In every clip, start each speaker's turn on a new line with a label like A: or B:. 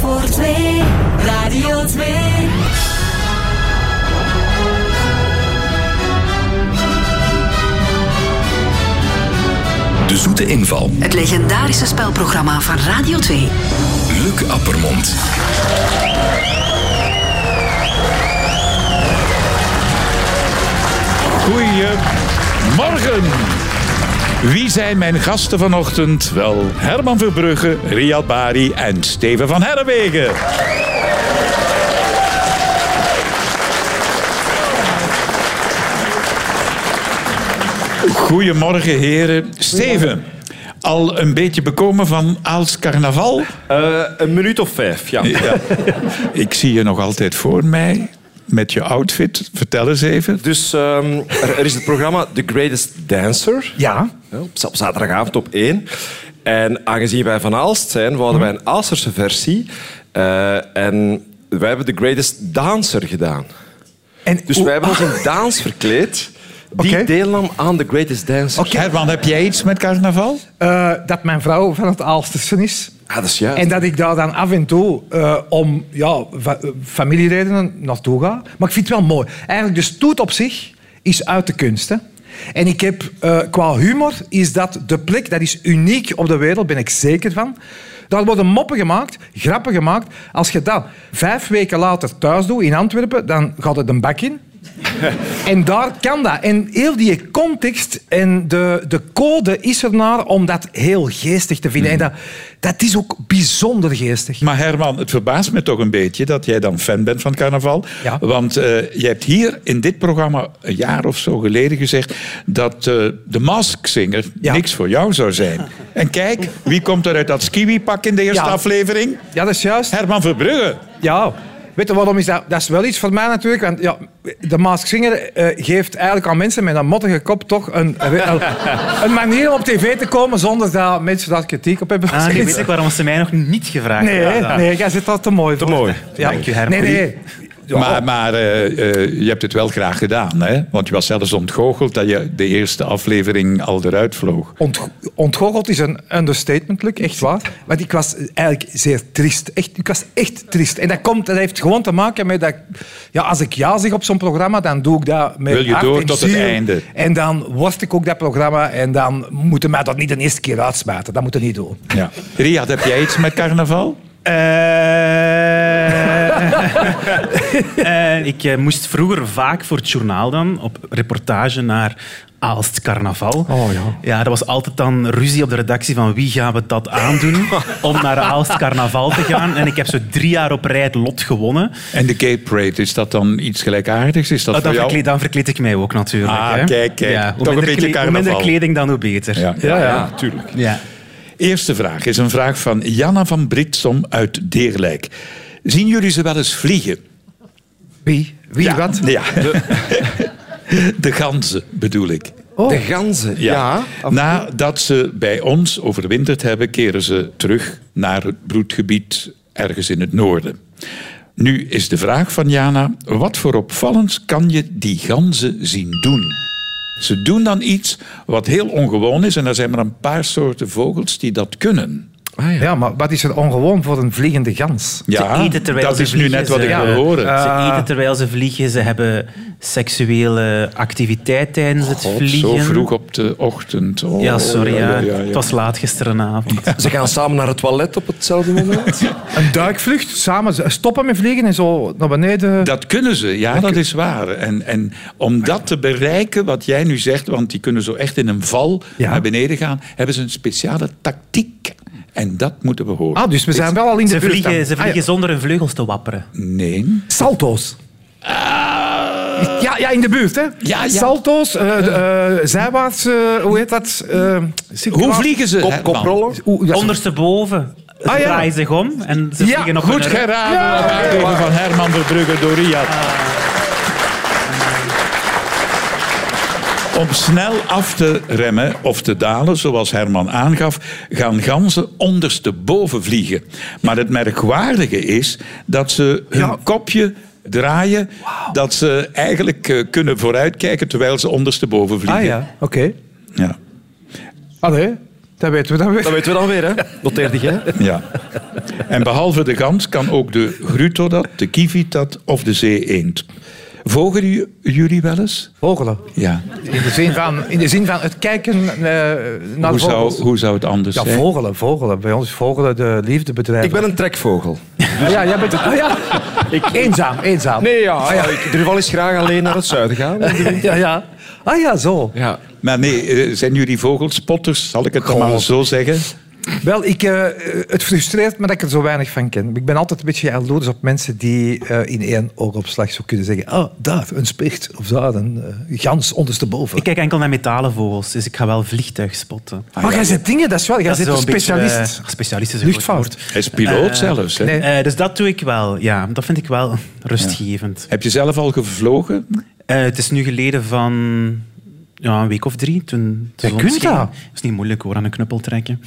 A: voor twee. Radio 2.
B: De zoete inval.
C: Het legendarische spelprogramma van Radio 2.
B: Luc Appermond.
D: Goedemorgen. Wie zijn mijn gasten vanochtend? Wel Herman Verbrugge, Riyad Bari en Steven van Herrewegen. Goedemorgen, heren. Steven, al een beetje bekomen van Aals Carnaval?
E: Eh, een minuut of vijf, ja.
D: Ik zie je nog altijd voor mij met je outfit. Vertel eens even.
E: Dus ehm, er, er is het programma The Greatest Dancer.
D: Ja.
E: Ja, Op za- op zaterdagavond op één. En aangezien wij van Aalst zijn, wouden wij een Aalsterse versie. Eh, en wij hebben The Greatest Dancer gedaan.
F: En
E: Dus
F: hoe-
E: wij hebben ons in dans verkleed. Die
F: Oké.
E: deelnam aan The Greatest Dancer.
D: Herman, heb jij iets met carnaval?
F: Eh, dat mijn vrouw van het Aalstersen is.
E: Ah, dat is juist.
F: En dat ik daar dan af en toe eh, om ja, fa- eh, familieredenen naartoe ga. Maar ik vind het wel mooi. Eigenlijk, de stoet op zich is uit de kunst. Hè. En ik heb, eh, qua humor is dat de plek, dat is uniek op de wereld, ben ik zeker van. Daar worden moppen gemaakt, grappen gemaakt. Als je dat vijf weken later thuis doet in Antwerpen, dan gaat het een bak in. En daar kan dat. En heel die context en de, de code is er naar om dat heel geestig te vinden. En dat, dat is ook bijzonder geestig.
D: Maar Herman, het verbaast me toch een beetje dat jij dan fan bent van carnaval.
F: Ja.
D: Want eh, je hebt hier in dit programma een jaar of zo geleden gezegd dat eh, de maskzinger
F: Ja.
D: niks voor jou zou zijn. En kijk, wie komt er uit dat skiwi-pak in de eerste
F: Ja.
D: aflevering?
F: Ja, dat is juist.
D: Herman Verbrugge.
F: Ja. Weet je waarom is dat? Dat is wel iets voor mij natuurlijk. Want ja, de Mask Singer eh, geeft eigenlijk aan mensen met een mottige kop toch een, een, een manier om op tv te komen zonder dat mensen daar kritiek op hebben.
G: Ah, nu weet ik waarom ze mij nog niet gevraagd
F: Nee,
G: hebben.
F: hè? nee, jij zit daar te mooi voor.
E: mooi.
F: Ja.
G: Dank je, Herman.
F: Nee, nee. Ja.
D: Maar, maar eh, eh, je hebt het wel graag gedaan, hè? Want je was zelfs ontgoocheld dat je de eerste aflevering al eruit vloog.
F: Ont, ontgoocheld is een understatement, Luc, echt waar. Want ik was eigenlijk zeer triest. Echt, ik was echt triest. En dat, komt, dat heeft gewoon te maken met dat... ik- Ja, als ik ja zeg op zo'n programma, dan doe ik dat met
D: Wil je
F: hart
D: door
F: en
D: tot het
F: ziel.
D: einde?
F: En dan word ik ook dat programma en dan moeten mij dat niet de eerste keer uitsmijten. Dat moeten we niet doen.
D: Ja. Riyad, heb jij iets met carnaval?
G: Eh, eh, ik eh, moest vroeger vaak voor het journaal dan op reportage naar Aalst Carnaval.
F: Oh, ja.
G: Ja, er was altijd dan ruzie op de redactie van wie gaan we dat aandoen om naar Aalst Carnaval te gaan. En ik heb zo drie jaar op rij het lot gewonnen.
D: En de Gay Parade, is dat dan iets gelijkaardigs? Is Ah, dat
G: Oh, dan,
D: voor jou?
G: verkleed, dan verkleed ik mij ook natuurlijk.
D: Ah,
G: hè.
D: kijk, kijk.
G: Ja,
D: Toch
G: hoe,
D: een
G: minder
D: beetje
G: kle- hoe minder
D: carnaval.
G: kleding dan, hoe beter.
D: Ja.
E: ja, ja, tuurlijk.
G: ja.
D: Eerste vraag is een vraag van Janna van Britsom uit Deerlijk. Zien jullie ze wel eens vliegen?
F: Wie? Wie wat?
D: Ja. De, de ganzen bedoel ik.
E: De ganzen, Oh. ja.
D: Nadat ze bij ons overwinterd hebben, keren ze terug naar het broedgebied ergens in het noorden. Nu is de vraag van Jana, wat voor opvallends kan je die ganzen zien doen? Ze doen dan iets wat heel ongewoon is en er zijn maar een paar soorten vogels die dat kunnen.
F: Ah, ja. maar wat is er ongewoon voor een vliegende gans?
G: Ze eten terwijl
D: dat
G: ze
D: is nu
G: vliegen,
D: net wat
G: ze- eh,
D: ik
G: Ja.
D: wil horen.
G: Ze eten terwijl ze vliegen, ze hebben seksuele activiteit tijdens het
D: God,
G: vliegen.
D: zo vroeg op de ochtend. Oh,
G: Ja, sorry. Ja,
D: ja, ja, ja.
G: Het was laat gisterenavond.
E: Ze gaan samen naar het toilet op hetzelfde moment.
F: Een duikvlucht, samen stoppen met vliegen en zo naar beneden...
D: Dat kunnen ze, ja, dat is waar. En, en om dat te bereiken, wat jij nu zegt, want die kunnen zo echt in een val
F: Ja.
D: naar beneden gaan, hebben ze een speciale tactiek. En dat moeten we horen.
F: Ah, dus we zijn wel al in de
G: Ze
F: buurt dan.
G: vliegen, ze
F: Ah, ja.
G: vliegen zonder hun vleugels te wapperen.
D: Nee.
F: Salto's. Ja, ja, in de buurt, hè?
D: ja.
F: Salto's, eh, de, eh, zijwaarts, eh, hoe heet dat? Eh,
D: Hoe
F: circulair-
D: vliegen ze?
E: Kop,
D: Herman?
E: koprollen.
F: Oeh, dat is-
G: Ondersteboven. Ze
F: Ah, ja.
G: draaien zich om en ze
F: Ja,
G: vliegen op
D: Goed
G: hun rug.
D: geraden. Waardegever van Herman Verbrugge door Riyad. Om snel af te remmen of te dalen, zoals Herman aangaf, gaan ganzen ondersteboven vliegen. Maar het merkwaardige is dat ze hun kopje draaien, dat ze eigenlijk eh, kunnen vooruitkijken terwijl ze ondersteboven vliegen.
F: Ah ja, oké.
D: ja.
F: Allee, dat weten we dan weer.
E: Dat weten we dan weer, hè? Noteer die, hè?
D: Ja. En behalve de gans kan ook de grutodat, de kievietad of de zee-eend. Vogelen ju- jullie wel eens?
F: Vogelen.
D: Ja.
F: In de zin van, in de zin van het kijken eh, naar
D: Hoe
F: vogels.
D: zou, hoe zou het anders
F: Ja,
D: zijn?
F: vogelen, vogelen. Bij ons is vogelen de liefdebedrijf.
E: Ik ben een trekvogel.
F: Ah, ja, jij bent... ah, ja. Eenzaam, eenzaam.
E: Nee, Ah ja, ja. Ik durf al eens graag alleen naar het zuiden gaan.
F: Ja, ja. Ah ja, zo.
E: Ja.
D: Maar nee, eh, zijn jullie vogelspotters? Zal ik het dan maar zo zeggen?
F: Wel, ik, eh, het frustreert me dat ik er zo weinig van ken. Ik ben altijd een beetje jaloers op mensen die eh, in één oogopslag zo kunnen zeggen... Ah, daar, een spicht. Of daar, een eh, gans ondersteboven.
G: Ik kijk enkel naar metalen vogels, dus ik ga wel vliegtuig spotten.
F: maar jij zit dingen, dat is wel... Jij
G: Dat is
F: zit een
G: zo'n beetje,
F: specialist.
G: eh, specialist is een
F: Luchtvaart.
G: groot woord.
D: Hij is piloot zelfs. Hè?
F: nee.
G: Eh, dus dat doe ik wel, ja. Dat vind ik wel rustgevend.
D: Heb je zelf al gevlogen?
G: Eh, het is nu geleden van ja, een week of drie. Toen de
F: Jij
G: zon
F: kunt
G: scheen.
F: dat?
G: is niet moeilijk hoor, aan een knuppel trekken.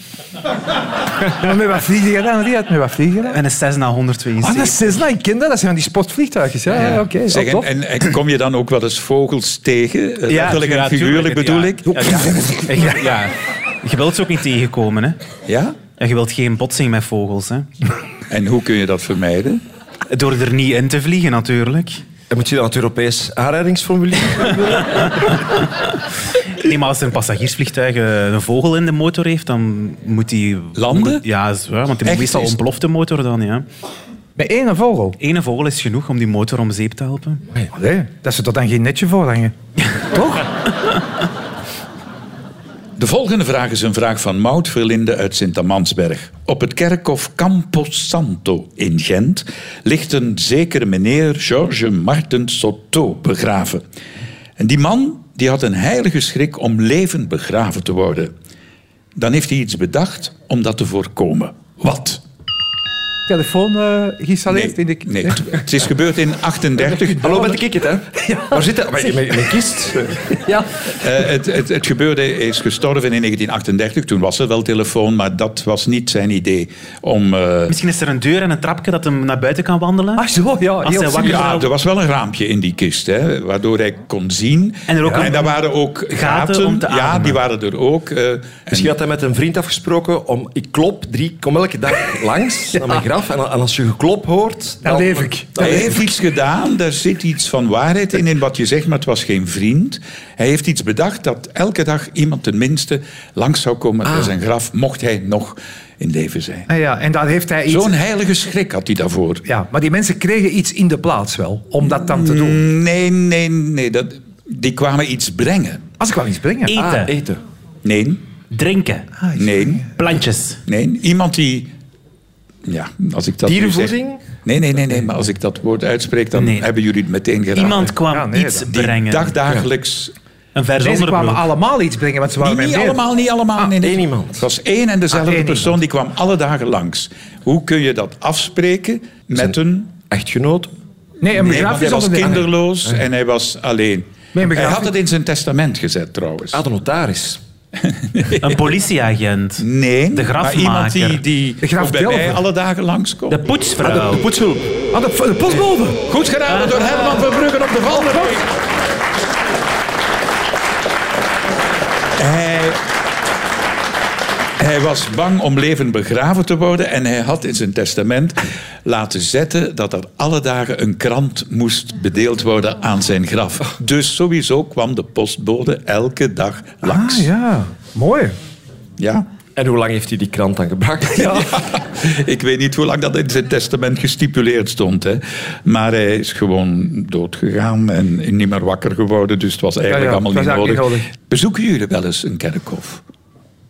F: Maar met wat vliegen jij dan? Riad? Met wat vliegen jij?
G: En een Cessna
F: Ah, dat
G: 172.
F: is Cessna, ik ken dat. Dat zijn van die sportvliegtuigjes. Ja, ja, oké.
D: Zeg,
F: Zeg,
D: en, en- en kom je dan ook wel eens vogels tegen? Eh, Letterlijk en
G: ja,
D: figuurlijk
G: tuurlijk,
D: bedoel
G: ja.
D: ik.
G: Ja, ja. Ja, ja. Je wilt ze ook niet tegenkomen, hè?
D: Ja?
G: En je wilt geen botsing met vogels, hè?
D: En hoe kun je dat vermijden?
G: Door er niet in te vliegen, natuurlijk.
E: En moet je dan het Europees aanrijdingsformulier?
G: Nee, maar als een passagiersvliegtuig eh, een vogel in de motor heeft, dan moet die...
D: Landen?
G: Moet- ja, dat is waar, want die
D: Echt?
G: meestal
D: Is-
G: ontploft de motor dan, ja.
F: Met één vogel. Oh,
G: Ene vogel is genoeg om die motor om zeep te helpen.
F: Nee, dat ze er dan geen netje voor hangen. Toch?
D: De volgende vraag is een vraag van Maud Verlinde uit Sint-Amansberg. Op het kerkhof Campos Santo in Gent ligt een zekere meneer Georges Marten Soto begraven. En die man die had een heilige schrik om levend begraven te worden. Dan heeft hij iets bedacht om dat te voorkomen. Wat?
F: Telefoon eh, geïnstalleerd
D: nee,
F: in de...
D: nee, het- het is gebeurd in 38.
E: Hallo, ben ik het, hè? Waar zit dat? Mijn, mijn, mijn kist?
F: Ja.
D: Eh, het, het, het gebeurde, hij is gestorven in 1938. Toen was er wel telefoon, maar dat was niet zijn idee om... eh,
G: Misschien is er een deur en een trapje dat hem naar buiten kan wandelen.
F: Ah, zo, ja.
G: Als
F: heel
G: hij wakker
F: simpel.
D: Ja, er was wel een raampje in die kist, hè, waardoor hij kon zien.
G: En er ook een-
D: daar waren ook gaten.
G: om te
D: ja,
G: ademen.
D: die waren er ook. eh, en-
E: Misschien Dus had hij met een vriend afgesproken om... Ik klop drie... Kom elke dag langs naar mijn graf. En, en als je geklop hoort...
F: Dat leef ik.
D: hij heeft iets gedaan, daar zit iets van waarheid in, in wat je zegt, maar het was geen vriend. Hij heeft iets bedacht dat elke dag iemand tenminste langs zou komen
G: Ah.
D: naar zijn graf, mocht hij nog in leven zijn.
F: Ah, ja, en daar heeft hij iets...
D: Zo'n heilige schrik had hij daarvoor.
F: Ja, maar die mensen kregen iets in de plaats wel, om dat dan te
D: Mm.
F: doen.
D: Nee, nee, nee, dat, die kwamen iets brengen.
F: Als ik wel iets Ah, breng, ja.
G: Eten,
E: Eten.
D: Nee,
G: drinken,
D: Ah. nee.
G: plantjes.
D: Nee, iemand die... Ja, als ik dat nu
E: Dierenvoeding?
D: zeg- nee, nee, nee, nee, maar als ik dat woord uitspreek, dan
G: Nee.
D: hebben jullie het meteen gedaan.
G: Iemand kwam
F: Ja, nee,
G: iets
F: dat-
D: die
G: brengen.
D: dagdagelijks...
G: Een vers
F: Deze kwamen
G: onderbroek.
F: allemaal iets brengen, want ze waren
D: Niet, niet
F: met meer.
D: allemaal, niet allemaal. nee, nee.
E: Ah, één iemand.
D: Het was één en dezelfde
F: Ah, één
D: persoon, die kwam alle dagen langs. Hoe kun je dat afspreken met een...
E: Echtgenoot.
F: Nee, een
D: Nee, want hij
F: begrafenis
D: was
F: onder de-
D: kinderloos en hij was alleen.
F: Nee,
D: hij
F: begrafenis-
D: had het in zijn testament gezet, trouwens.
E: Ah, de notaris.
G: Een politieagent.
D: Nee,
G: De
D: maar
G: grafmaker.
D: iemand die, die
F: De graf
D: of bij
F: Delver.
D: mij alle dagen langskomt.
G: De poetsvrouw.
E: De poetshulp.
F: Ah, de, de postbode.
D: Goed gedaan door Herman van Bruggen op de Valderweg. Hij, hij was bang om levend begraven te worden en hij had in zijn testament laten zetten dat er alle dagen een krant moest bedeeld worden aan zijn graf. Dus sowieso kwam de postbode elke dag langs.
F: Ah, ja. Mooi.
D: Ja.
E: En hoe lang heeft hij die krant dan gebracht?
D: Ik weet niet hoe lang dat in zijn testament gestipuleerd stond. Hè. Maar hij is gewoon doodgegaan en niet meer wakker geworden. Dus het was eigenlijk
F: ja,
D: allemaal
F: het was
D: niet, nodig.
F: eigenlijk niet
D: Bezoeken jullie wel eens een kerkhof?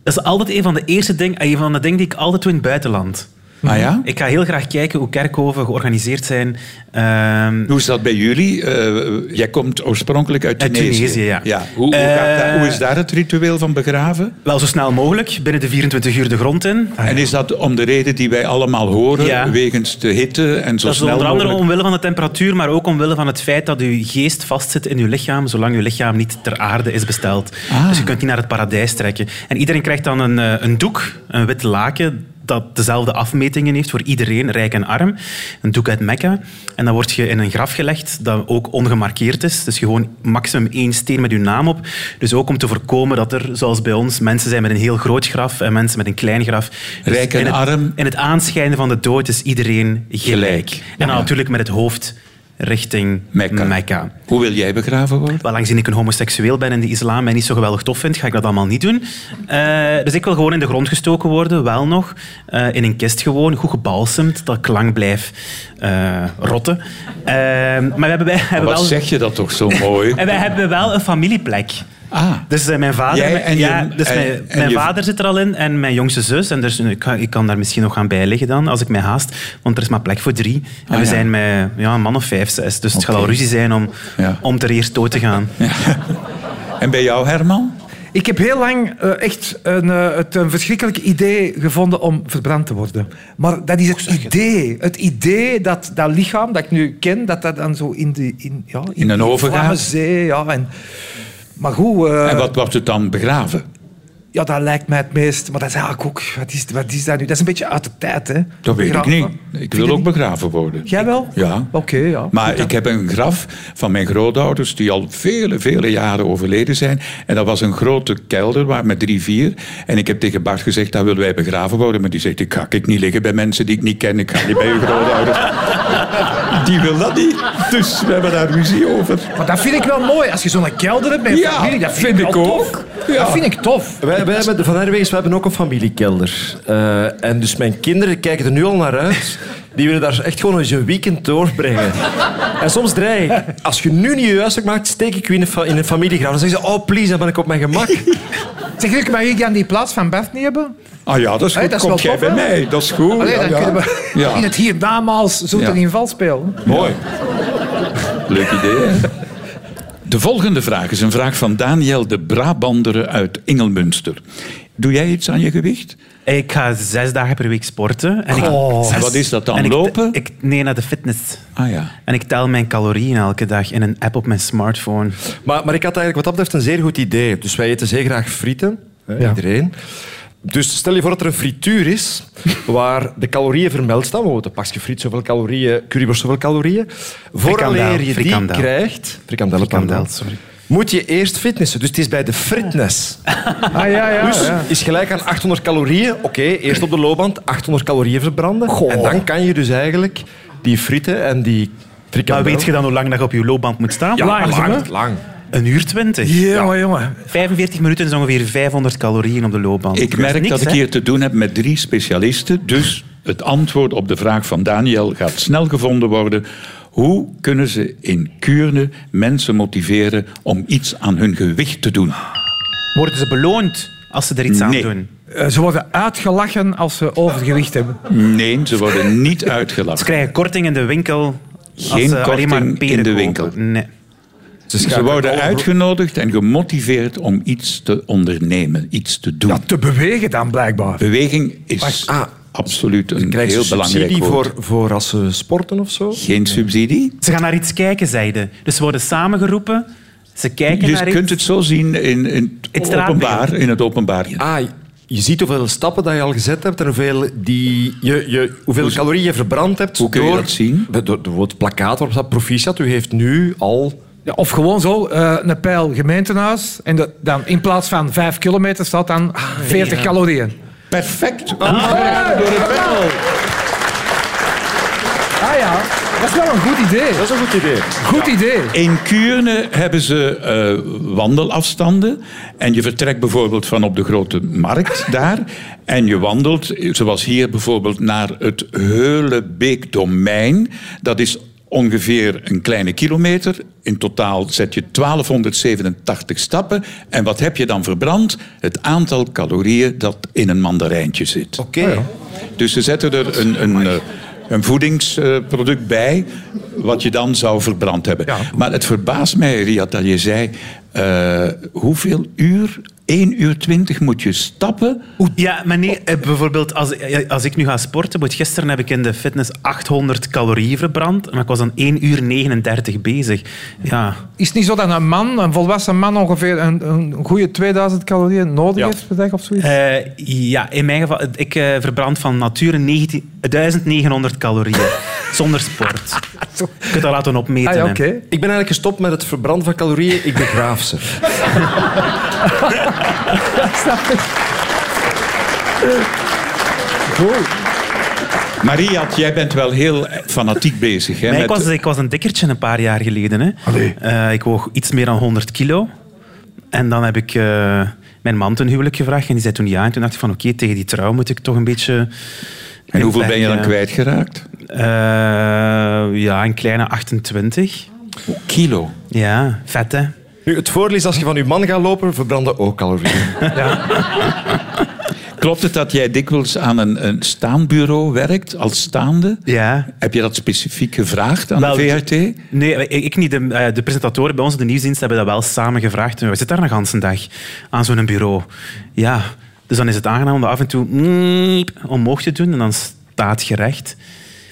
G: Dat is altijd een van de eerste dingen, een van de dingen die ik altijd doe in het buitenland.
D: Ah ja?
G: Ik ga heel graag kijken hoe kerkhoven georganiseerd zijn. Ehm,
D: Hoe is dat bij jullie? Eh, jij komt oorspronkelijk uit
G: Uit
D: Tunesië.
G: Tunesië, ja.
D: Hoe, hoe, gaat
G: Eh,
D: dat- hoe is daar het ritueel van begraven?
G: wel zo snel mogelijk, binnen de 24 uur de grond in.
D: En is dat om de reden die wij allemaal horen,
G: Ah, Ja.
D: wegens de hitte en zo
G: Dat is
D: snel
G: onder andere
D: mogelijk?
G: omwille van de temperatuur, maar ook omwille van het feit dat uw geest vastzit in uw lichaam, zolang uw lichaam niet ter aarde is
D: Ah.
G: besteld. Dus je kunt niet naar het paradijs trekken. En iedereen krijgt dan een, eh, een doek, een wit laken, dat dezelfde afmetingen heeft voor iedereen, rijk en arm. Een doek uit Mekka. En dan word je in een graf gelegd dat ook ongemarkeerd is. Dus gewoon maximum één steen met je naam op. Dus ook om te voorkomen dat er, zoals bij ons, mensen zijn met een heel groot graf en mensen met een klein graf. Dus
D: Rijk en
G: in het,
D: arm.
G: In het aanschijnen van de dood is iedereen gelijk.
D: Gelijk.
G: En dan
D: Ja.
G: natuurlijk met het hoofd richting
D: Mekka.
G: Mekka.
D: Hoe wil jij begraven worden?
G: Wel, aangezien ik een homoseksueel ben en de islam mij niet zo geweldig tof vindt, ga ik dat allemaal niet doen. Eh, dus ik wil gewoon in de grond gestoken worden, wel nog. Eh, in een kist gewoon, goed gebalsemd, dat klang blijft eh, rotten. Eh, maar we hebben, wij hebben
D: Wat
G: wel...
D: zeg je dat toch zo mooi?
G: En wij hebben wel een familieplek.
D: Ah.
G: Dus eh, mijn vader,
D: Jij en je-
G: ja, dus
D: en-
G: mijn,
D: en
G: mijn
D: je-
G: vader zit er al in en mijn jongste zus. En dus, ik, kan, ik kan daar misschien nog gaan bijleggen dan, als ik mij haast. Want er is maar plek voor drie. En
D: Ah,
G: we
D: ja.
G: zijn met ja, een man of vijf, zes. Dus het
D: Oké.
G: gaat al ruzie zijn om,
D: Ja.
G: om er eerst dood te gaan.
D: En bij jou, Herman?
F: Ik heb heel lang eh, echt een, eh, het een verschrikkelijk idee gevonden om verbrand te worden. Maar dat is het idee. Het idee dat dat lichaam dat ik nu ken, dat dat dan zo in, de, in, ja, in,
D: een
F: die
D: oven gaat.
F: vlamme zee, ja, en, maar goed, eh,
D: en wat wordt het dan begraven?
F: ja, dat lijkt mij het meest. Maar dat is eigenlijk ook... Wat is, wat is dat nu? Dat is een beetje uit de tijd, hè?
D: Dat weet ik
F: Begraven.
D: niet.
F: Vind
D: Ik
F: je
D: wil ook
F: niet?
D: begraven worden.
F: Jij wel?
D: Ja.
F: Oké, ja.
D: Maar ik heb een graf van mijn grootouders die al vele, vele jaren overleden zijn. En dat was een grote kelder waar met drie, vier. En ik heb tegen Bart gezegd, daar willen wij begraven worden. Maar die zegt, ik ga ik niet liggen bij mensen die ik niet ken. Ik ga niet bij uw grootouders. Die wil dat niet. Dus we hebben daar ruzie over.
F: Maar dat vind ik wel mooi. Als je zo'n kelder hebt met je
D: Ja,
F: familie, dat vind,
D: vind
F: ik wel
D: ik
F: tof.
D: ook. Ja.
F: Dat vind ik tof.
E: Wij, wij hebben, van Herwegens, we hebben ook een familiekelder. Eh, en dus mijn kinderen kijken er nu al naar uit. Die willen daar echt gewoon eens een weekend doorbrengen. En soms dreig ik. Als je nu niet je huiswerk maakt, steek ik je in een, fa- in een familiegraf. Dan zeggen ze, oh please, dan ben ik op mijn gemak.
F: Zeg, Luc, mag ik dan die plaats van Bert niet hebben?
D: Ah ja, dat is goed.
F: Hey, dat is
D: Kom
F: wel
D: jij
F: tof,
D: bij
F: hè?
D: mij. Dat is goed.
F: Allee,
D: Ja,
F: dan
D: ja.
F: kunnen we
D: Ja.
F: in het hier namaals zo'n
D: Ja.
F: inval spelen.
D: Mooi. Leuk idee, hè? De volgende vraag is een vraag van Daniel de Brabandere uit Engelmunster. Doe jij iets aan je gewicht?
G: Ik ga zes dagen per week sporten. En ik,
F: Goh.
G: zes-
D: En wat Oh. is dat dan,
G: Oh. en ik-
D: lopen?
G: Ik, nee, naar de fitness.
D: Ah ja.
G: En ik tel mijn calorieën elke dag in een app op mijn smartphone.
E: Maar, maar ik had eigenlijk wat dat betreft een zeer goed idee. Dus wij eten zeer graag frieten, hè,
F: Ja.
E: iedereen. Dus stel je voor dat er een frituur is waar de calorieën vermeld staan. Bijvoorbeeld een pakje friet, zoveel calorieën, curryworst, zoveel calorieën. Vooraleer je die
G: frikandel.
E: krijgt... Frikandellen,
G: Frikandel,
E: pardon.
G: sorry.
E: Moet je eerst fitnessen. Dus het is bij de fitness.
F: Ah, ja, ja,
E: Dus
F: ja.
E: is gelijk aan 800 calorieën. Oké, eerst op de loopband 800 calorieën verbranden. En dan kan je dus eigenlijk die frieten en die
G: Maar
E: frikandel...
G: weet je dan hoe lang dat je op je loopband moet staan?
E: Ja,
F: Lang, zeg
E: lang,
F: maar.
E: lang.
G: Een uur twintig.
F: Jongen, jongen.
G: 45 minuten is ongeveer 500 calorieën op de loopband.
D: Ik
G: gebeurt
D: merk
G: niks,
D: dat ik
G: hè?
D: hier te doen heb met drie specialisten. Dus het antwoord op de vraag van Daniel gaat snel gevonden worden. Hoe kunnen ze in Kuurne mensen motiveren om iets aan hun gewicht te doen?
G: Worden ze beloond als ze er iets
D: Nee.
G: aan doen?
F: Eh, Ze worden uitgelachen als ze overgewicht hebben.
D: Nee, ze worden niet
G: Ze
D: uitgelachen.
G: krijgen korting in de winkel als
D: Geen
G: ze alleen maar
D: korting
G: peren
D: in de
G: kopen.
D: winkel.
G: Nee.
D: Dus
E: Dus
D: Ze worden uitgenodigd en gemotiveerd om iets te ondernemen, iets te doen.
F: Ja, te bewegen dan, blijkbaar.
D: Beweging is
E: Ah.
D: absoluut een
E: Krijg je
D: heel belangrijk
E: subsidie
D: woord.
E: voor, voor als ze sporten of zo?
D: Geen subsidie?
G: Ze gaan naar iets kijken, zeiden. Dus ze worden samengeroepen. Ze kijken
D: Je
G: naar
D: Dus kunt
G: iets.
D: het zo zien in, in,
G: Het
D: het,
G: straatbeeld.
D: openbaar, in het openbaar.
E: Ah, je ziet hoeveel stappen dat je al gezet hebt en hoeveel, die, je, je, hoeveel calorieën je verbrand hebt.
D: Hoe kun je dat zien?
E: Door, door, door het plakkaat waarop staat proficiat. U heeft nu al...
F: Ja, of gewoon zo, eh, een pijl gemeentehuis. En dat- dan in plaats van 5 kilometer staat dan 40 calorieën.
D: Perfect.
E: Ah.
F: door de pijl. Ah ja, dat is wel een goed idee.
E: Dat is een goed idee.
F: Goed idee.
D: In Kuurne hebben ze eh, wandelafstanden. En je vertrekt bijvoorbeeld van op de grote markt daar. En je wandelt, zoals hier bijvoorbeeld, naar het Heulebeekdomein. Dat is ongeveer een kleine kilometer. In totaal zet je 1287 stappen. En wat heb je dan verbrand? Het aantal calorieën dat in een mandarijntje zit.
E: Oké.
D: Dus ze zetten er een, een, eh, een voedingsproduct bij, wat je dan zou verbrand hebben. Maar het verbaast mij, Riad, dat je zei eh, hoeveel uur 1 uur 20 moet je stappen.
G: Ja, maar nee, eh, bijvoorbeeld als, eh, als ik nu ga sporten, want gisteren heb ik in de fitness 800 calorieën verbrand, maar ik was dan 1 uur 39 bezig. Ja,
F: Is het niet zo dat een man, een volwassen man, ongeveer een, een goede 2000 calorieën nodig
D: Ja.
F: heeft per dag of zoiets?
G: Eh, ja in mijn geval, ik eh, verbrand van nature 19 1900 calorieën. Zonder sport. Je kunt dat laten opmeten.
F: ah ja,
G: hè.
F: oké.
E: Ik ben eigenlijk gestopt met het verbranden van calorieën. Ik begraaf ze.
D: Mariat, jij bent wel heel fanatiek bezig. Hè,
G: Maar ik,
D: met-
G: was, ik was een dikkertje een paar jaar geleden. Hè. Eh, ik woog iets meer dan 100 kilo. En dan heb ik eh, mijn man ten huwelijk gevraagd. En die zei toen ja. En toen dacht ik van oké, tegen die trouw moet ik toch een beetje...
D: En hoeveel ben je dan
G: Eh,
D: kwijtgeraakt?
G: eh, ja, een kleine 28.
D: Kilo.
G: Ja, vet hè.
E: Nu, het voordeel is, als je van je man gaat lopen, verbranden ook calorieën.
D: Klopt het dat jij dikwijls aan een, een staanbureau werkt, als staande?
G: Ja.
D: Heb je dat specifiek gevraagd aan de
G: Wel,
D: VRT?
G: Nou, Nee, ik ik niet. De, eh, de presentatoren bij ons, de nieuwsdienst, hebben dat wel samen gevraagd. En We zitten daar een ganse dag aan zo'n bureau. Ja, dus dan is het aangenaam om dat af en toe miep omhoog te doen en dan staat gerecht.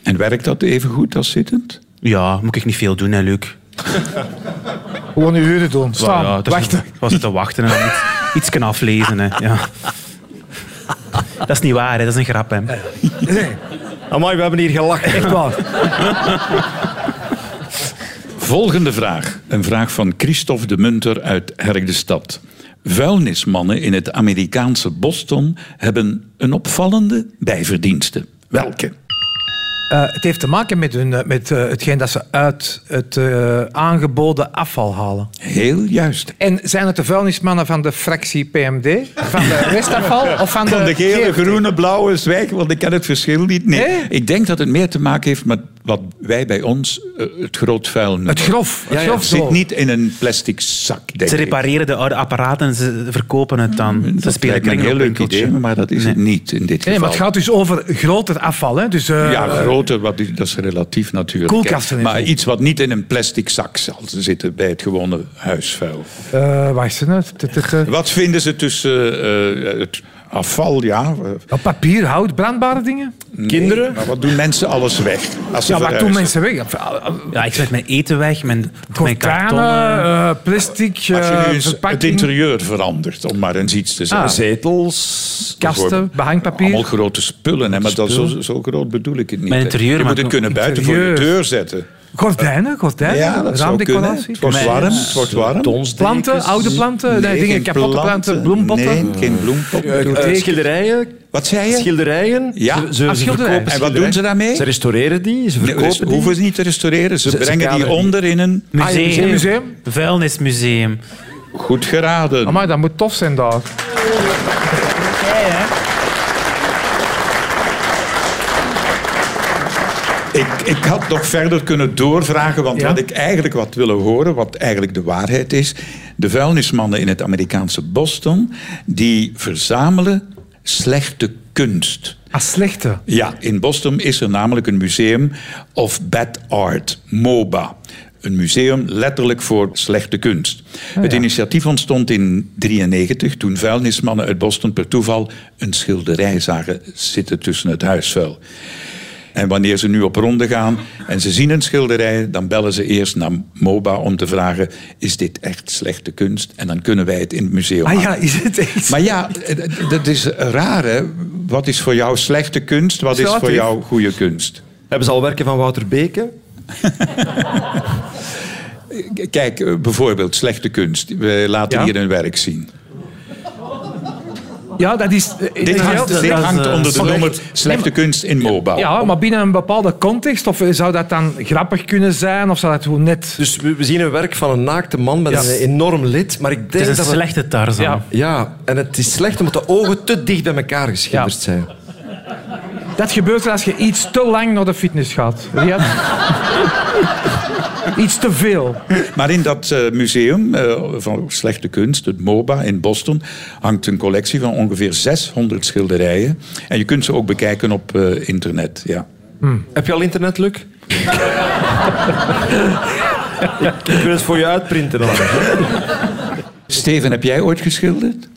D: En werkt dat even goed als zittend?
G: Ja, moet ik niet veel doen, hè, Luc?
F: Gewoon uw uren doen. Staan,
G: ja, dat is-
F: wachten.
G: Was het te wachten en dan iets, iets kunnen aflezen, hè. Ja. Dat is niet waar, hè. dat is een grap. Hè.
E: Amai, we hebben hier gelachen.
F: Echt waar.
D: Volgende vraag. Een vraag van Christophe de Munter uit Herk de Stad. Vuilnismannen in het Amerikaanse Boston hebben een opvallende bijverdienste. Welke?
F: Eh, het heeft te maken met, hun, eh, met eh, hetgeen dat ze uit het eh, aangeboden afval halen.
D: Heel juist.
F: En zijn het de vuilnismannen van de fractie PMD? Van de restafval? Of van de,
D: Van de gele,
F: GFT?
D: groene, blauwe zwijk, want ik ken het verschil niet. Nee,
F: Nee?
D: ik denk dat het meer te maken heeft met wat wij bij ons eh, het groot vuil noemen.
F: Het grof. Het
D: Ja, ja,
F: grof
D: het zit
F: zo.
D: niet in een plastic zak, denk
G: Ze
D: ik. Mm,
G: repareren de oude apparaten en ze verkopen het dan. Ze
D: Dat
G: spelen
D: lijkt me een heel leuk
G: kringloopwinkeltje.
D: idee, maar dat is het niet in dit
F: Nee,
D: geval.
F: maar het gaat dus over groter afval. Hè? Dus, eh,
D: Ja, groter, wat, is- dat is relatief natuurlijk.
F: Koelkasten en
D: maar
F: zo.
D: iets wat niet in een plastic zak zal zitten bij het gewone huisvuil.
F: eh, waar is het? nou? T- t- t-
D: Wat vinden ze tussen eh, het afval, ja? eh,
F: Ja, Papier, hout, brandbare dingen?
E: Kinderen?
D: Maar wat doen mensen alles weg? Als ze
F: Ja, wat
D: verhuizen?
F: doen mensen weg? Ja,
G: Ja, ik zet mijn eten weg, mijn, mijn kartonnen.
F: Gordijnen, eh, plastic,
D: Als je
F: eh,
D: nu eens het
F: verpakking,
D: interieur verandert, om maar eens iets te zeggen.
F: Ah.
E: Zetels.
F: kasten,
D: bijvoorbeeld.
F: behangpapier.
D: Allemaal grote spullen, hè, maar dat, zo, zo groot bedoel ik het niet.
G: Mijn
D: hè.
G: interieur
D: je moet
G: maakt
D: het
G: nog-
D: kunnen buiten voor je
F: Interieur.
D: deur zetten.
F: Gordijnen, gordijnen,
D: Ja, dat zou kunnen.
F: raamdecoratie.
D: Het wordt warm. Het wordt warm.
F: Planten, oude planten, eh, nee, dingen,
D: geen
F: kapotte planten, bloempotten.
D: Nee, geen bloempotten.
E: Eh, eh, schilderijen.
D: Wat zei je?
E: Schilderijen.
D: Ja.
E: Ze, ze,
F: Ah,
E: ze
F: schilderijen.
E: verkopen
D: En wat doen ze daarmee?
E: Ze restaureren die, ze
D: Nee,
E: verkopen
D: Ze
E: die.
D: hoeven ze niet te restaureren. Ze,
E: Ze- ze
D: brengen die
E: kaderen die.
D: onder in een...
F: Ah, ja,
G: Museum.
F: museum.
G: Vuilnismuseum.
D: Goed geraden.
F: Amai, dat moet tof zijn daar.
D: Ik, ik had nog verder kunnen doorvragen, want
F: Ja?
D: wat ik eigenlijk wat willen horen, wat eigenlijk de waarheid is. De vuilnismannen in het Amerikaanse Boston, die verzamelen slechte kunst.
F: Ah, slechte.
D: Ja, in Boston is er namelijk een museum of bad art, MOBA. Een museum letterlijk voor slechte kunst.
F: Oh
D: Het initiatief ontstond in 1993 toen vuilnismannen uit Boston per toeval een schilderij zagen zitten tussen het huisvuil. En wanneer ze nu op ronde gaan en ze zien een schilderij, dan bellen ze eerst naar MOBA om te vragen: is dit echt slechte kunst? En dan kunnen wij het in het museum.
F: Ah
D: maken.
F: ja, is het echt?
D: Maar ja, d- dat is raar, hè? Wat is voor jou slechte kunst? Wat is voor
F: Relatief.
D: jou goede kunst?
E: Hebben ze al werken van Wouter Beke?
D: K- Kijk, eh, bijvoorbeeld slechte kunst. We laten
F: Ja.
D: hier een werk zien.
F: Ja, dat is... eh,
D: Dit
F: dat
D: hangt,
F: geldt-
D: dit
G: dat is,
D: hangt
G: eh,
D: onder de
G: slecht.
D: noemer slechte kunst in MOBA.
F: Ja, maar binnen een bepaalde context? Of eh, zou dat dan grappig kunnen zijn? Of zou dat gewoon net...
E: Dus we, we zien een werk van een naakte man met
F: Ja.
E: een enorm lid, maar ik
G: Het
E: denk
G: is een
E: dat het-
G: slechte Tarzan.
F: Ja.
E: Ja, en het is slecht omdat de ogen te dicht bij elkaar geschilderd
F: Ja.
E: zijn.
F: Dat gebeurt er als je iets te lang naar de fitness gaat. Riyad. iets te veel.
D: Maar in dat eh, museum eh, van slechte kunst, het MOBA in Boston, hangt een collectie van ongeveer 600 schilderijen. En je kunt ze ook bekijken op eh, internet. Ja.
E: Heb je al internet, Luc? ik, ik wil het voor je uitprinten. Dan.
D: Steven, heb jij ooit geschilderd?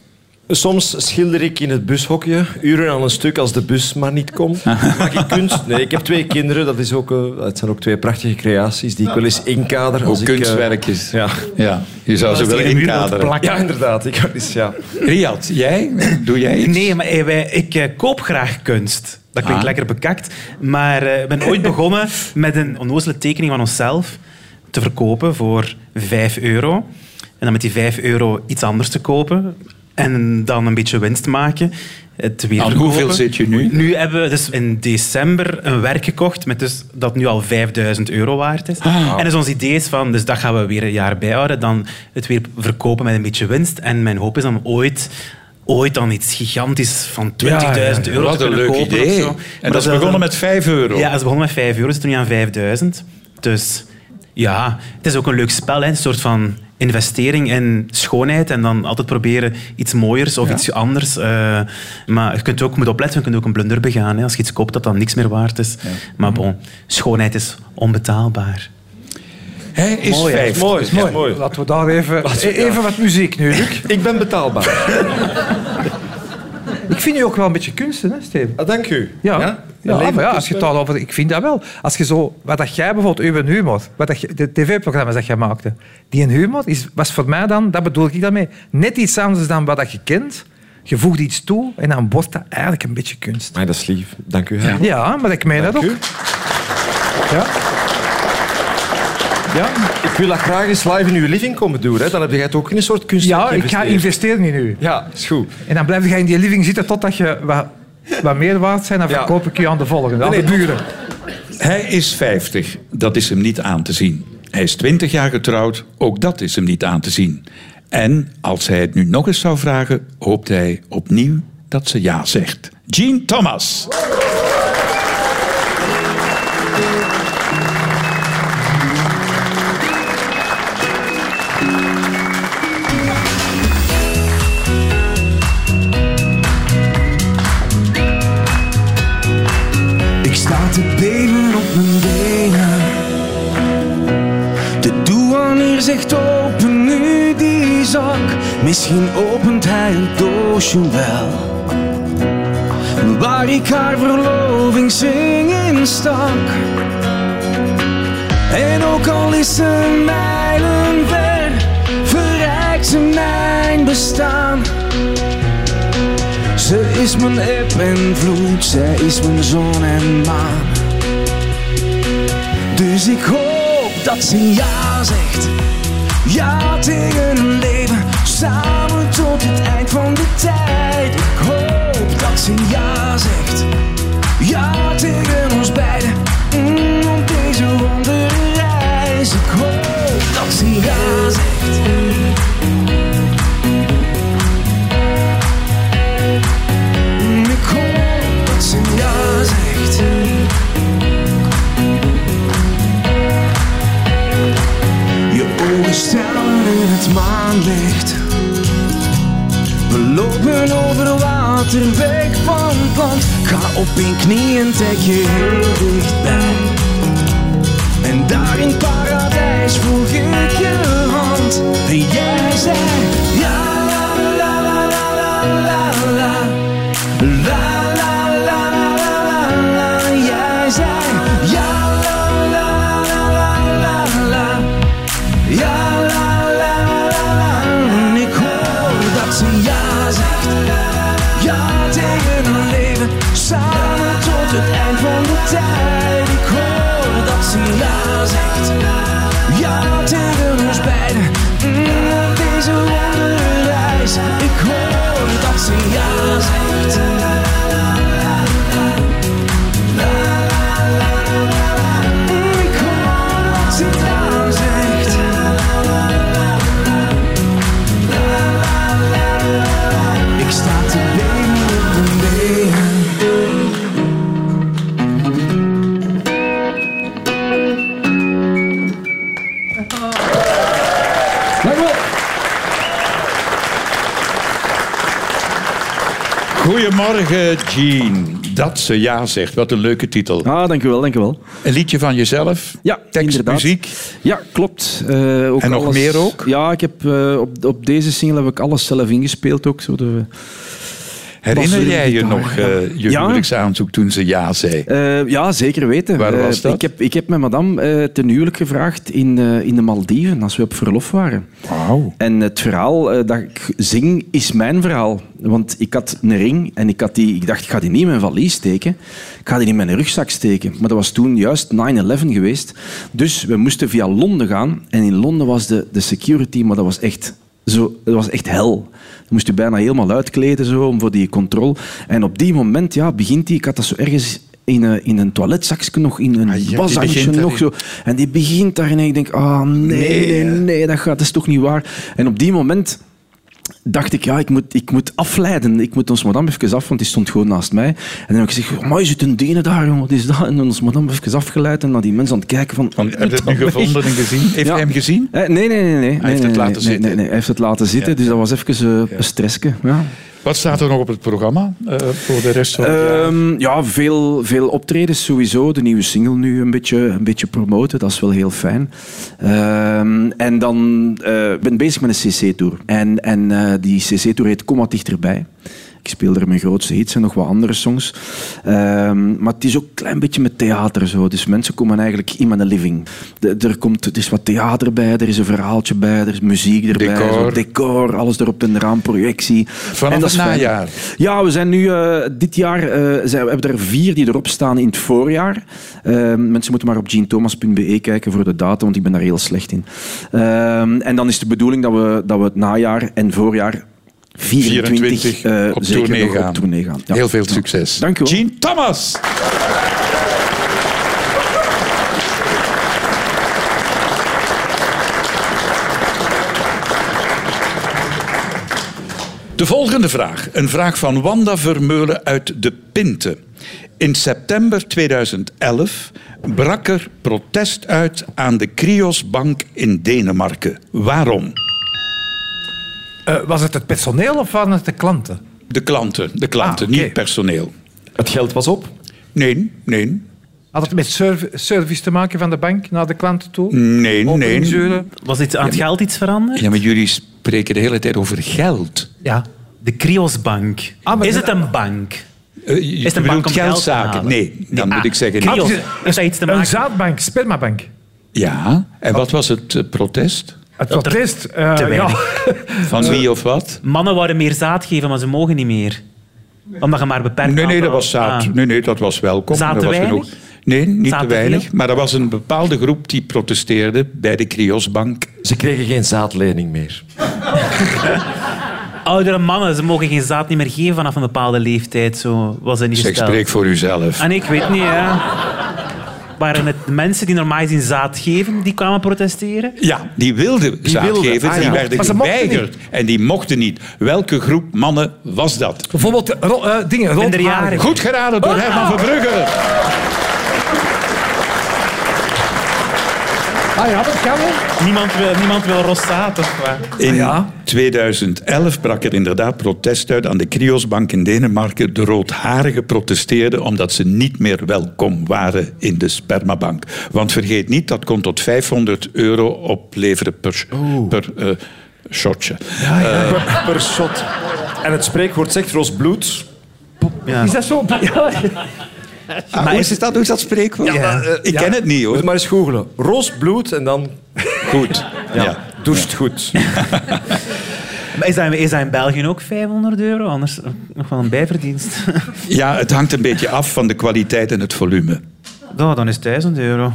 E: Soms schilder ik in het bushokje, uren aan een stuk als de bus maar niet komt. Maak ik kunst? Nee, ik heb twee kinderen. Dat is ook, eh, het zijn ook twee prachtige creaties die ik wel eens inkader. Als
D: Ook
E: ik, eh,
D: kunstwerkjes.
E: ja.
D: ja, je zou ze wel inkaderen.
E: ja, inderdaad. Ik, wou eens, ja.
D: Riyad, jij? Doe jij iets?
G: Nee, maar eh, wij, ik eh, koop graag kunst. Dat klinkt
D: Ah.
G: lekker bekakt. Maar eh, ik ben ooit begonnen met een onnozele tekening van onszelf te verkopen voor 5 euro. En dan met die 5 euro iets anders te kopen. En dan een beetje winst maken. Het weer
D: Aan
G: verkopen.
D: hoeveel zit je nu?
G: Nu hebben we dus in december een werk gekocht met dus dat nu al 5000 euro waard is.
D: Ah.
G: En dus ons idee is van, dus dat gaan we weer een jaar bijhouden. Dan het weer verkopen met een beetje winst. En mijn hoop is dan ooit, ooit dan iets gigantisch van 20.000 euro
D: Wat
G: te
D: een
G: kunnen
D: leuk
G: kopen of
D: idee.
G: zo. Maar
D: En dat is
G: wel
D: begonnen
G: dan-
D: met 5 euro.
G: Ja, dat is begonnen met 5 euro. Ze toen nu aan 5000. Dus ja, het is ook een leuk spel. Hè. Een soort van investering in schoonheid en dan altijd proberen iets mooiers of iets anders. eh, maar je kunt ook, moet opletten, je kunt ook een blunder begaan. Hè. Als je iets koopt dat dan niks meer waard is. Maar bon, schoonheid is onbetaalbaar.
D: Hè, is
G: Mooi, hè?
D: vijf.
E: Mooi,
F: is mooi.
E: ja, mooi.
F: Laten we daar even, even wat muziek nu, Luc.
E: Ik ben betaalbaar.
F: Ik vind je ook wel een beetje kunsten, hè, Steven?
E: Ah, dank u.
F: Ja, ja?
E: Een leven
F: maar ja, als je
E: tussen-
F: het al over... Ik vind dat wel. Als je zo... Wat dat jij bijvoorbeeld, Uwe Humor, wat dat, je- de tv-programma's dat jij maakte, die een humor is, was voor mij dan, dat bedoel ik daarmee, net iets anders dan wat dat je kent. Je voegt iets toe en dan wordt dat eigenlijk een beetje kunst.
E: Maar dat is lief. Dank u. Ja.
F: Ja, maar ik meen dat ook.
E: u.
F: Ja. Ja,
E: Ik wil dat graag eens live in uw living komen doen. Hè. Dan heb jij het ook in een soort kunst.
F: ja ik ga investeren in u.
E: Ja, is goed.
F: En dan blijf je in die living zitten totdat je wat, wat meer waard zijn. Dan
E: Ja.
F: verkoop ik je aan de volgende, aan
E: Nee,
F: de
E: nee.
F: buren.
D: Hij is 50. Dat is hem niet aan te zien. Hij is 20 jaar getrouwd. Ook dat is hem niet aan te zien. En als hij het nu nog eens zou vragen, hoopt hij opnieuw dat ze ja zegt. Jean Thomas.
H: Ik sta te beven op mijn benen. De douanier zegt open nu die zak. Misschien opent hij het doosje wel. Waar ik haar verlovingszing in stak. En ook al is ze mijlen ver, verrijkt ze mijn bestaan. Ze is mijn eb en vloed, zij is mijn zon en maan. Dus ik hoop dat ze ja zegt. Ja tegen een leven, samen tot het eind van de tijd. Ik hoop dat ze ja zegt. Ja tegen ons beiden, mm, op deze wondere reis. Ik hoop dat ze ja zegt. Mm, Ik hoop dat ze ja zegt. Je ogen stralen in het maanlicht. We lopen over water, weg van het land. Ga op één knie en trek je heel dichtbij. En daar in paradijs voel ik je hand. En jij zei, ja la la la la la la la. La la la la la la, jij zei ja la la la la la la, ja la la la la. En Ik hoor dat ze ja zegt, ja tegen een leven, samen tot het eind van de tijd. Ik hoor dat ze ja zegt, ja tegen ons beiden. Mm, op Deze wonderreis, ik hoor dat ze ja zegt. Ik hoor wat ze daar zegt. Ik sta te benen op de benen.
D: Goedemorgen, Jean. Dat ze ja zegt. Wat een leuke titel.
H: Ah, dank u wel, dank u wel.
D: Een liedje van jezelf.
H: Ja,
D: tekst,
H: inderdaad.
D: muziek.
H: Ja, klopt. Eh, ook
D: En nog
H: alles-
D: meer ook?
H: Ja, ik heb, eh, op, op deze single heb ik alles zelf ingespeeld ook. Zo de,
D: Herinner
H: Bas,
D: jij je
H: gitaar,
D: nog eh je
H: Ja.
D: huwelijksaanzoek toen ze ja zei?
H: Eh, ja, zeker weten.
D: Waar
H: Eh,
D: was dat?
H: ik, heb, ik heb mijn madame eh, ten huwelijk gevraagd in, eh, in de Maldiven, als we op verlof waren.
D: Wauw.
H: En het verhaal eh, dat ik zing is mijn verhaal. Want ik had een ring en ik, had die, ik dacht, ik ga die niet in mijn valies steken. Ik ga die in mijn rugzak steken. Maar dat was toen juist 9-11 geweest. Dus we moesten via Londen gaan. En in Londen was de, de security, maar dat was echt... Zo, dat was echt hel. Dan moest je bijna helemaal uitkleden zo, om voor die controle. En op die moment ja, begint die... Ik had dat zo ergens in een, in een toiletzakje nog, in een
D: Ah, ja, die
H: waszakje
D: begint
H: nog
D: daarin.
H: zo. En die begint daar en ik denk, ah nee, nee, nee, dat, gaat, dat is toch niet waar. En op die moment dacht ik, ja, ik moet, ik moet afleiden. Ik moet ons madame even af, want die stond gewoon naast mij. En dan heb ik gezegd, "Oh, maar is het een dene daar, jongen? Wat is dat? En ons madame even afgeleid en naar die mensen aan het kijken van...
D: Van, heb je het nu gevonden en gezien? Heeft
H: Ja.
D: hij hem gezien?
H: Eh, nee, nee, nee. nee, nee nee,
D: het
H: nee,
D: laten
H: nee,
D: zitten.
H: Nee, nee, hij heeft het laten zitten,
D: Ja.
H: dus dat was even eh, een stressje. Ja.
D: Wat staat er nog op het programma eh, voor de rest van het jaar?
H: Ehm, ja, veel, veel optredens sowieso. De nieuwe single nu een beetje, een beetje promoten, dat is wel heel fijn. Ehm, en dan eh, ik ben ik bezig met een CC-tour. En, en eh, die CC-tour heet Kom wat dichterbij. Ik speel er mijn grootste hits en nog wat andere songs. Ehm, maar het is ook een klein beetje met theater zo. Dus mensen komen eigenlijk in mijn living. De- er, komt, er is wat theater bij, er is een verhaaltje bij, er is muziek erbij.
D: Decor.
H: zo decor alles erop en eraan, projectie.
D: Vanaf
H: En dat
D: het
H: is fijn.
D: najaar.
H: Ja, we zijn nu eh, dit jaar. eh, zijn, we hebben er vier die erop staan in het voorjaar. Eh, mensen moeten maar op jeanthomas.be kijken voor de data, want ik ben daar heel slecht in. Eh, en dan is de bedoeling dat we, dat we het najaar en voorjaar 24,
D: 24
H: eh,
D: op,
H: zeker
D: tournee
H: nog
D: gaan.
H: op tournee gaan. Ja. Nou,
D: Heel veel succes.
H: Dank u wel.
D: Gene Thomas. De volgende vraag. Een vraag van Wanda Vermeulen uit De Pinte. In september 2011 brak er protest uit aan de Krios Bank in Denemarken. Waarom?
F: Eh, was het het personeel of waren het de klanten?
D: De klanten, de klanten
F: Ah, oké.
D: niet personeel.
E: Het geld was op.
D: Nee, nee,
F: Had het met serv- service te maken van de bank naar de klanten toe?
D: nee, nee.
F: Openingsuren?
G: Was dit aan het geld iets veranderd?
D: Ja, maar jullie spreken de hele tijd over geld.
F: Ja.
G: De Kriosbank.
F: Ah, maar-
G: is het een bank?
D: Eh, je
G: Is het een
D: bedoelt
G: bank om geld te
D: geldzaken?
G: halen?
D: nee, dan
G: Ah,
D: moet ik zeggen. niet.
G: Krios.
F: Had je-
G: Heeft dat iets te
F: Een
G: maken?
F: zaadbank, spermabank.
D: Ja, en wat was het eh, protest?
F: Het
G: Dat er
F: protest. eh,
G: te
F: ja.
G: weinig. Eh,
D: Van wie of wat?
G: Mannen wouden meer zaad geven, maar ze mogen niet meer. Omdat je maar beperkt
D: Nee, nee, dat
G: aantal-
D: was zaad.
G: Ah.
D: Nee, nee, dat was welkom.
G: Zaad
D: dat
G: te
D: was
G: weinig?
D: Nee, niet
G: Zaad
D: te
G: te
D: weinig.
G: veel?
D: Maar er was een bepaalde groep die protesteerde bij de Kriosbank.
E: Ze kregen geen zaadlening meer.
G: Ah. Oudere mannen, ze mogen geen zaad niet meer geven vanaf een bepaalde leeftijd. Zo was het niet
D: Zeg,
G: gesteld.
D: spreek voor uzelf.
G: En ik weet niet, ja. Waren het de mensen die normaal gezien zaad geven, die kwamen protesteren?
D: Ja, die wilden zaad
E: wilden,
D: geven,
E: ah
D: die
E: ja.
D: werden
F: Maar ze mochten
D: geweigerd. En die mochten niet. Welke groep mannen was dat?
F: Bijvoorbeeld eh, ro- eh, dingen rond.
G: Minderjarigen.
D: Goed geraden door Herman Verbrugge.
F: Ah ja, dat kan wel.
G: Niemand wil, niemand wil roszaad, of wat?
D: In 2011 brak er inderdaad protest uit aan de Kriosbank in Denemarken. De roodharigen protesteerden omdat ze niet meer welkom waren in de spermabank. Want vergeet niet, dat kon tot 500 euro opleveren per, per eh, shotje.
E: Per, per shot. En het spreekwoord zegt roos bloed.
F: Is dat zo? Ja,
D: maar Ah, hoe, is dat, hoe is dat spreekwoord?
E: Ja.
D: Eh, ik
E: Ja.
D: ken het niet
E: Moet
D: hoor.
E: je maar eens googelen. Roos bloed en dan
D: Goed. Ja.
E: ja, doucht goed.
G: Maar Is dat, is dat in België ook 500 euro? Anders eh, nog wel een bijverdienst.
D: ja, het hangt een beetje af van de kwaliteit en het volume.
G: Nou, dan is het 1000 euro.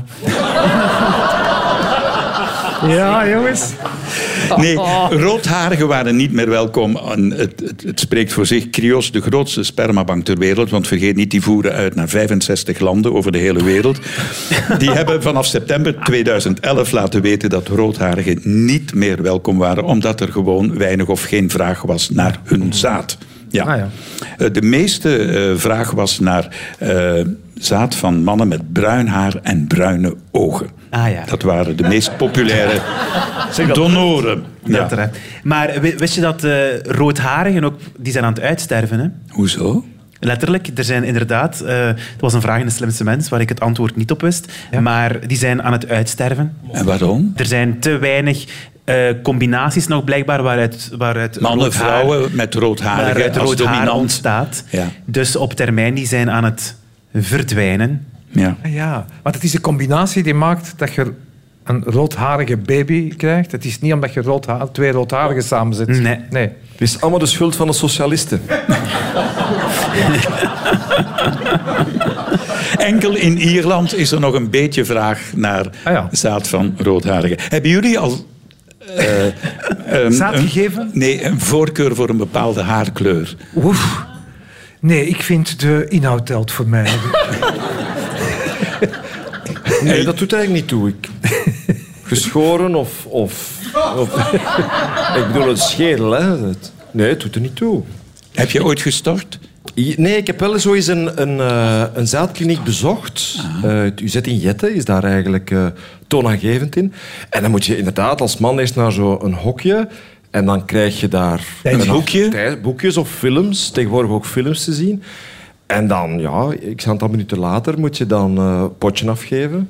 F: ja jongens.
D: Nee, roodharigen waren niet meer welkom. En het, het, het spreekt voor zich. Krios, de grootste spermabank ter wereld. Want vergeet niet, die voeren uit naar 65 landen over de hele wereld. Die hebben vanaf september 2011 laten weten dat roodharigen niet meer welkom waren. Omdat er gewoon weinig of geen vraag was naar hun zaad. Ja.
F: Ah, ja.
D: Eh, De meeste eh, vraag was naar eh, zaad van mannen met bruin haar en bruine ogen.
G: Ah, ja.
D: Dat waren de meest populaire donoren. Ja.
G: Dat er, hè. Maar wi- wist je dat eh roodharigen ook... Die zijn aan het uitsterven, hè?
D: Hoezo?
G: Letterlijk, er zijn inderdaad... eh het was een vraag in de slimste mens waar ik het antwoord niet op wist. Maar die zijn aan het uitsterven.
D: En waarom?
G: Er zijn te weinig eh, combinaties nog blijkbaar waaruit... waaruit
D: Mannen,
G: rood haar-
D: vrouwen met roodharigen
G: waaruit
D: als
G: rood haar
D: dominant.
G: ontstaat.
D: Ja.
G: Dus op termijn, die zijn aan het verdwijnen.
D: Ja.
F: Ah Ja, want het is de combinatie die maakt dat je een roodharige baby krijgt. Het is niet omdat je roodha- twee roodharigen samenzet.
G: Nee.
F: nee.
E: Het is allemaal de schuld van de socialisten.
D: Enkel in Ierland is er nog een beetje vraag naar
F: Ah ja.
D: zaad van roodharigen. Hebben jullie al... eh, een-
F: Zaad
D: een-
F: gegeven?
D: nee, een voorkeur voor een bepaalde haarkleur.
F: Oef. Nee, ik vind de inhoud telt voor mij.
E: Nee, dat doet eigenlijk niet toe. Ik... Geschoren of, of, of- Ik bedoel, het schedel, hè. Het- Nee, het doet er niet toe.
D: Heb je ooit gestort?
E: I- Nee, ik heb wel eens ooit een, een, eh, een zaadkliniek bezocht.
G: Ah.
E: Eh, het UZ in Jette is daar eigenlijk eh, toonaangevend in. En dan moet je inderdaad als man eerst naar zo'n hokje... En dan krijg je daar...
D: Een boekje?
E: Tij- Boekjes of films. Tegenwoordig ook films te zien. En dan, ja, ik aantal minuten later moet je dan eh potje afgeven.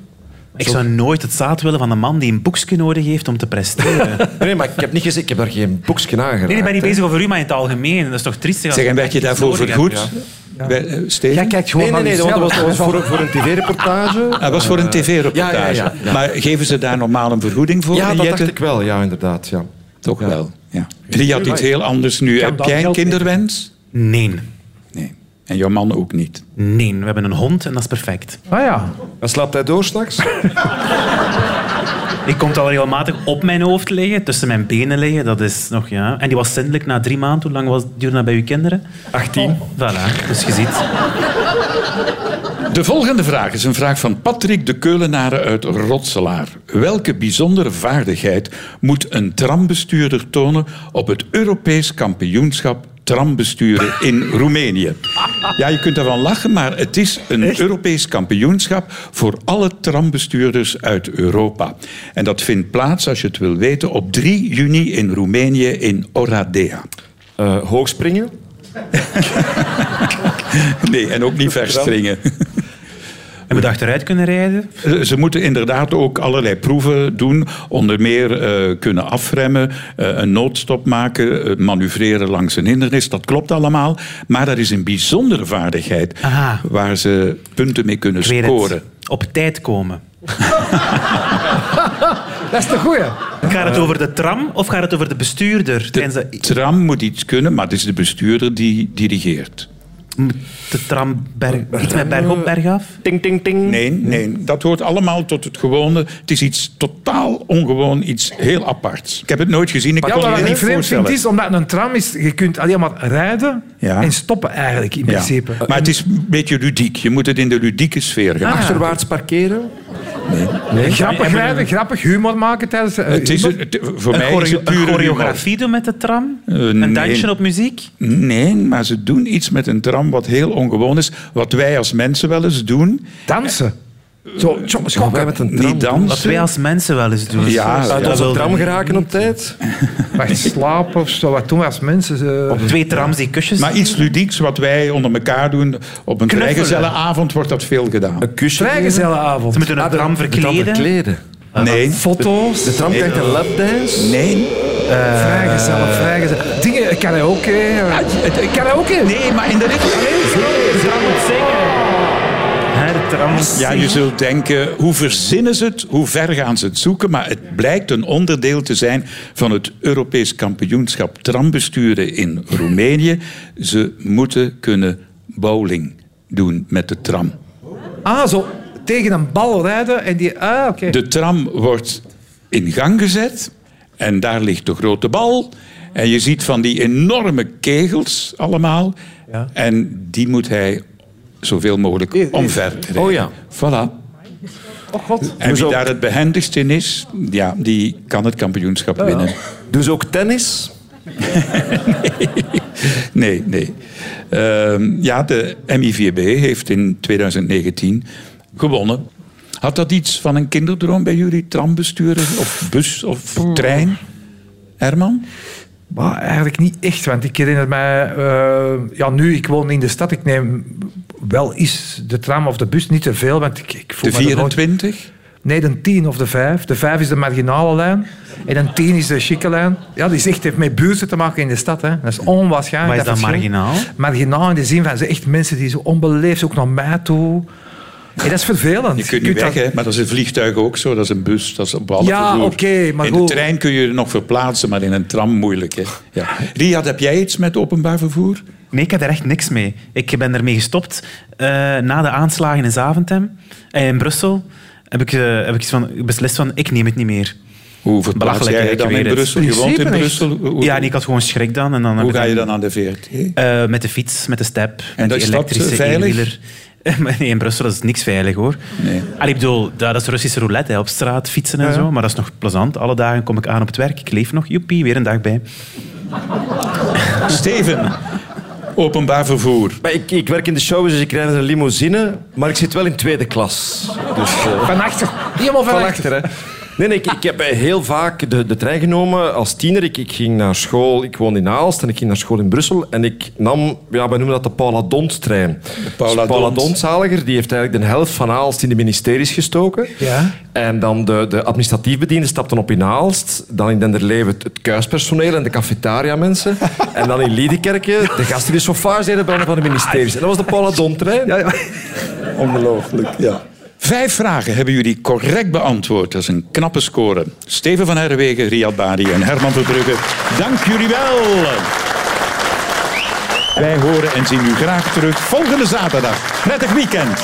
G: Ik zou nooit het zaad willen van een man die een boekje nodig heeft om te presteren.
E: Nee, maar ik heb niet gezegd, ik heb daar geen boekje aangeraakt.
G: Nee, ik ben niet
E: hè.
G: bezig over u, maar in het algemeen. Dat is toch triestig als
D: Zeg, en
G: je
D: werd je
G: echt iets
D: daarvoor
G: nodig hebt.
D: vergoed? Wij- eh, Steven?
F: Jij kijkt gewoon
E: Nee, nee, nee, dat
F: naar
E: was, dat
F: jezelf.
E: was voor, voor een tv-reportage.
D: Dat Ah, was voor een tv-reportage.
E: ja, ja, ja.
D: Maar geven ze daar normaal een vergoeding voor?
E: Ja,
D: in
E: dat
D: Jette?
E: dacht ik wel, ja, inderdaad. Ja.
D: Toch wel, ja. Drie had iets heel anders nu.
F: Kan
D: Heb
F: dat
D: jij een
F: geld
D: kinderwens?
G: Nee.
D: Nee. En jouw man ook niet.
G: Nee, we hebben een hond en dat is perfect.
F: Ah ja.
E: En slaapt hij door s'nachts?
G: Ik kom al regelmatig op mijn hoofd liggen, tussen mijn benen liggen. Dat is nog, ja. En die was zindelijk na drie maanden. Hoe lang was, duurde dat bij uw kinderen?
E: 18.
G: Voilà, dus je ziet.
D: De volgende vraag is een vraag van Patrick de Keulenare uit Rotselaar. Welke bijzondere vaardigheid moet een trambestuurder tonen op het Europees kampioenschap trambesturen in Roemenië? Ja, je kunt daarvan lachen, maar het is een Europees kampioenschap voor alle trambestuurders uit Europa. En dat vindt plaats, als je het wil weten, op 3 juni in Roemenië in Oradea.
E: Eh, hoogspringen.
D: Nee, en ook niet verspringen.
G: En we achteruit kunnen rijden.
D: Eh, Ze ze moeten inderdaad ook allerlei proeven doen. Onder meer eh, kunnen afremmen, eh, een noodstop maken, eh, manoeuvreren langs een hindernis. Dat klopt allemaal. Maar dat is een bijzondere vaardigheid
G: Aha.
D: waar ze punten mee kunnen
G: Ik weet het.
D: scoren.
G: Op tijd komen.
F: Dat is de goeie.
G: Gaat het over de tram of gaat het over de bestuurder? tijdens
D: De
G: De,
D: tram moet iets kunnen, maar het is de bestuurder die dirigeert.
G: de tram berg, iets met berg op, berg af?
E: Ting, ting,
F: Mm.
E: ting.
D: Nee, nee, dat hoort allemaal tot het gewone. Het is iets totaal ongewoon, iets heel aparts. Ik heb het nooit gezien. Ik
F: Ja,
D: kon
F: maar
D: het
F: wat
D: niet
F: ik vreemd vind
D: voorstellen.
F: is, omdat een tram is, je kunt alleen maar rijden
D: Ja.
F: en stoppen eigenlijk in
D: Ja. Eh,
F: principe. Ah,
D: Maar het is een beetje ludiek. Je moet het in de ludieke sfeer gaan.
E: Achterwaarts parkeren.
F: Grappig rijden, grappig humor maken tijdens... eh,
D: Het is,
F: humor.
D: het- voor
G: Een,
D: mij is
G: choreo-
D: het
G: een
D: pure
G: choreografie doen met de tram?
D: Eh,
G: Een
D: nee.
G: dansje op muziek?
D: humor. Nee, maar ze doen iets met een tram wat heel ongewoon is. Wat wij als mensen wel eens doen. Eh,
F: Dansen. Zo, tjong, schokken.
E: Wij met een tram.
D: Niet dansen.
G: Wat wij als mensen wel eens doen.
D: Ja,
E: Uit
D: ja.
E: onze
G: wel-
E: tram geraken op tijd.
F: Wacht, slapen of zo. Wat doen we als mensen? eh,
G: Op twee trams die kusjes.
D: Maar iets ludieks wat wij onder elkaar doen. Op een vrijgezellenavond wordt dat veel gedaan.
E: Een kusje.
F: Vrijgezellenavond.
G: Ze moeten een
E: Ah, de-
G: tram
E: de tram
G: verkleden.
E: verkleden.
D: Nee,
F: Foto's.
E: De tram krijgt een lapdance.
D: nee.
F: Eh. Vrijgezellig, vrijgezellig. Dingen, karaoke. eh, Karaoke?
D: Nee, maar in de richting.
G: Hè, de tram.
D: Ja, je zult denken, hoe verzinnen ze het? Hoe ver gaan ze het zoeken? Maar het blijkt een onderdeel te zijn van het Europees kampioenschap trambesturen in Roemenië. Ze moeten kunnen bowling doen met de tram.
F: Ah, zo tegen een bal rijden en die... Ah, oké.
D: De tram wordt in gang gezet en daar ligt de grote bal. En je ziet van die enorme kegels allemaal. En die moet hij zoveel mogelijk omver rijden.
E: Oh ja. Dus
D: Voilà.
F: Oh god.
D: En wie
E: ook-
D: daar het behendigst in is, ja, die kan het kampioenschap winnen.
E: Dus ook tennis.
D: Nee, nee. Ehm, ja, de MIVB heeft in 2019 gewonnen. Had dat iets van een kinderdroom bij jullie? Trambesturen of bus of trein? Herman?
F: Maar eigenlijk niet echt, want ik herinner mij... eh, ja, nu, ik woon in de stad, ik neem wel eens de tram of de bus, niet te veel, want ik, ik voel
D: De
F: me er nooit-
D: 24?
F: Nee, de 10 of de 5. De 5 is de marginale lijn en een 10 is de chique lijn. Ja, die is echt, heeft met buurten te maken in de stad. Hè. Dat is onwaarschijnlijk.
G: Wat is dat
F: verschil.
G: marginaal?
F: Marginaal in de zin van ze echt mensen die zo onbeleefd ook naar mij toe. En dat is vervelend.
D: Je kunt niet weg,
F: dat-
D: hè? maar dat is in vliegtuigen ook zo. Dat is een bus, dat is op alle
F: Ja,
D: vervoer.
F: oké, maar
D: In
F: goed.
D: de trein kun je je nog verplaatsen, maar in een tram moeilijk. Hè? Ja. Riyad, heb jij iets met openbaar vervoer?
G: Nee, ik heb er echt niks mee. Ik ben ermee gestopt. Eh, na de aanslagen in Zaventem en in Brussel heb ik, eh, heb ik iets van, beslist van, ik neem het niet meer.
D: Hoe verplaats
G: Belachelijk,
D: jij je
G: ik
D: dan
G: weet
D: in
G: het.
D: Brussel? Je woont in
F: Principe
D: Brussel. Hoe,
G: Ja, en ik had gewoon schrik dan. En dan heb
D: hoe
G: ik
D: ga je
G: dan-
D: dan aan de VRT?
G: Eh, met de fiets, met de step,
D: dat
G: met die
D: is dat,
G: elektrische
D: eh, veilig?
G: eenwieler. Maar nee, in Brussel is niks veilig hoor.
D: Nee.
G: Allee, ik bedoel, dat dat is Russische roulette, hè, op straat fietsen en zo. Maar dat is nog plezant. Alle dagen kom ik aan op het werk, ik leef nog, joepie, weer een dag bij.
D: Steven, openbaar vervoer.
E: Maar ik, ik werk in de show, dus ik rijd in een limousine, maar ik zit wel in tweede klas. Dus, eh,
F: Van achter. Helemaal van,
E: van
F: achter.
E: achter, hè. Nee, nee, ik, ik heb heel vaak de, de trein genomen als tiener. Ik, ik ging naar school, ik woonde in Aalst en ik ging naar school in Brussel. En ik nam, ja, wij noemen dat de Paula Dont-trein.
D: Paula
E: Dus Paula
D: Dont.
E: Dontzaliger, die heeft eigenlijk de helft van Aalst in de ministeries gestoken.
F: Ja.
E: En dan de, de administratief bedienden stapten op in Aalst. Dan in Denderleeuwen het, het kuispersoneel en de cafetaria mensen. En dan in Liedekerke de gasten die chauffeurs deden bij van de ministeries. En dat was de Paula Dont-trein.
D: Ongelooflijk, ja. Vijf vragen hebben jullie correct beantwoord. Dat is een knappe score. Steven van Herwegen, Riyad Bari en Herman Verbrugge. Dank jullie wel. Wij horen en zien u graag terug volgende zaterdag. Prettig weekend.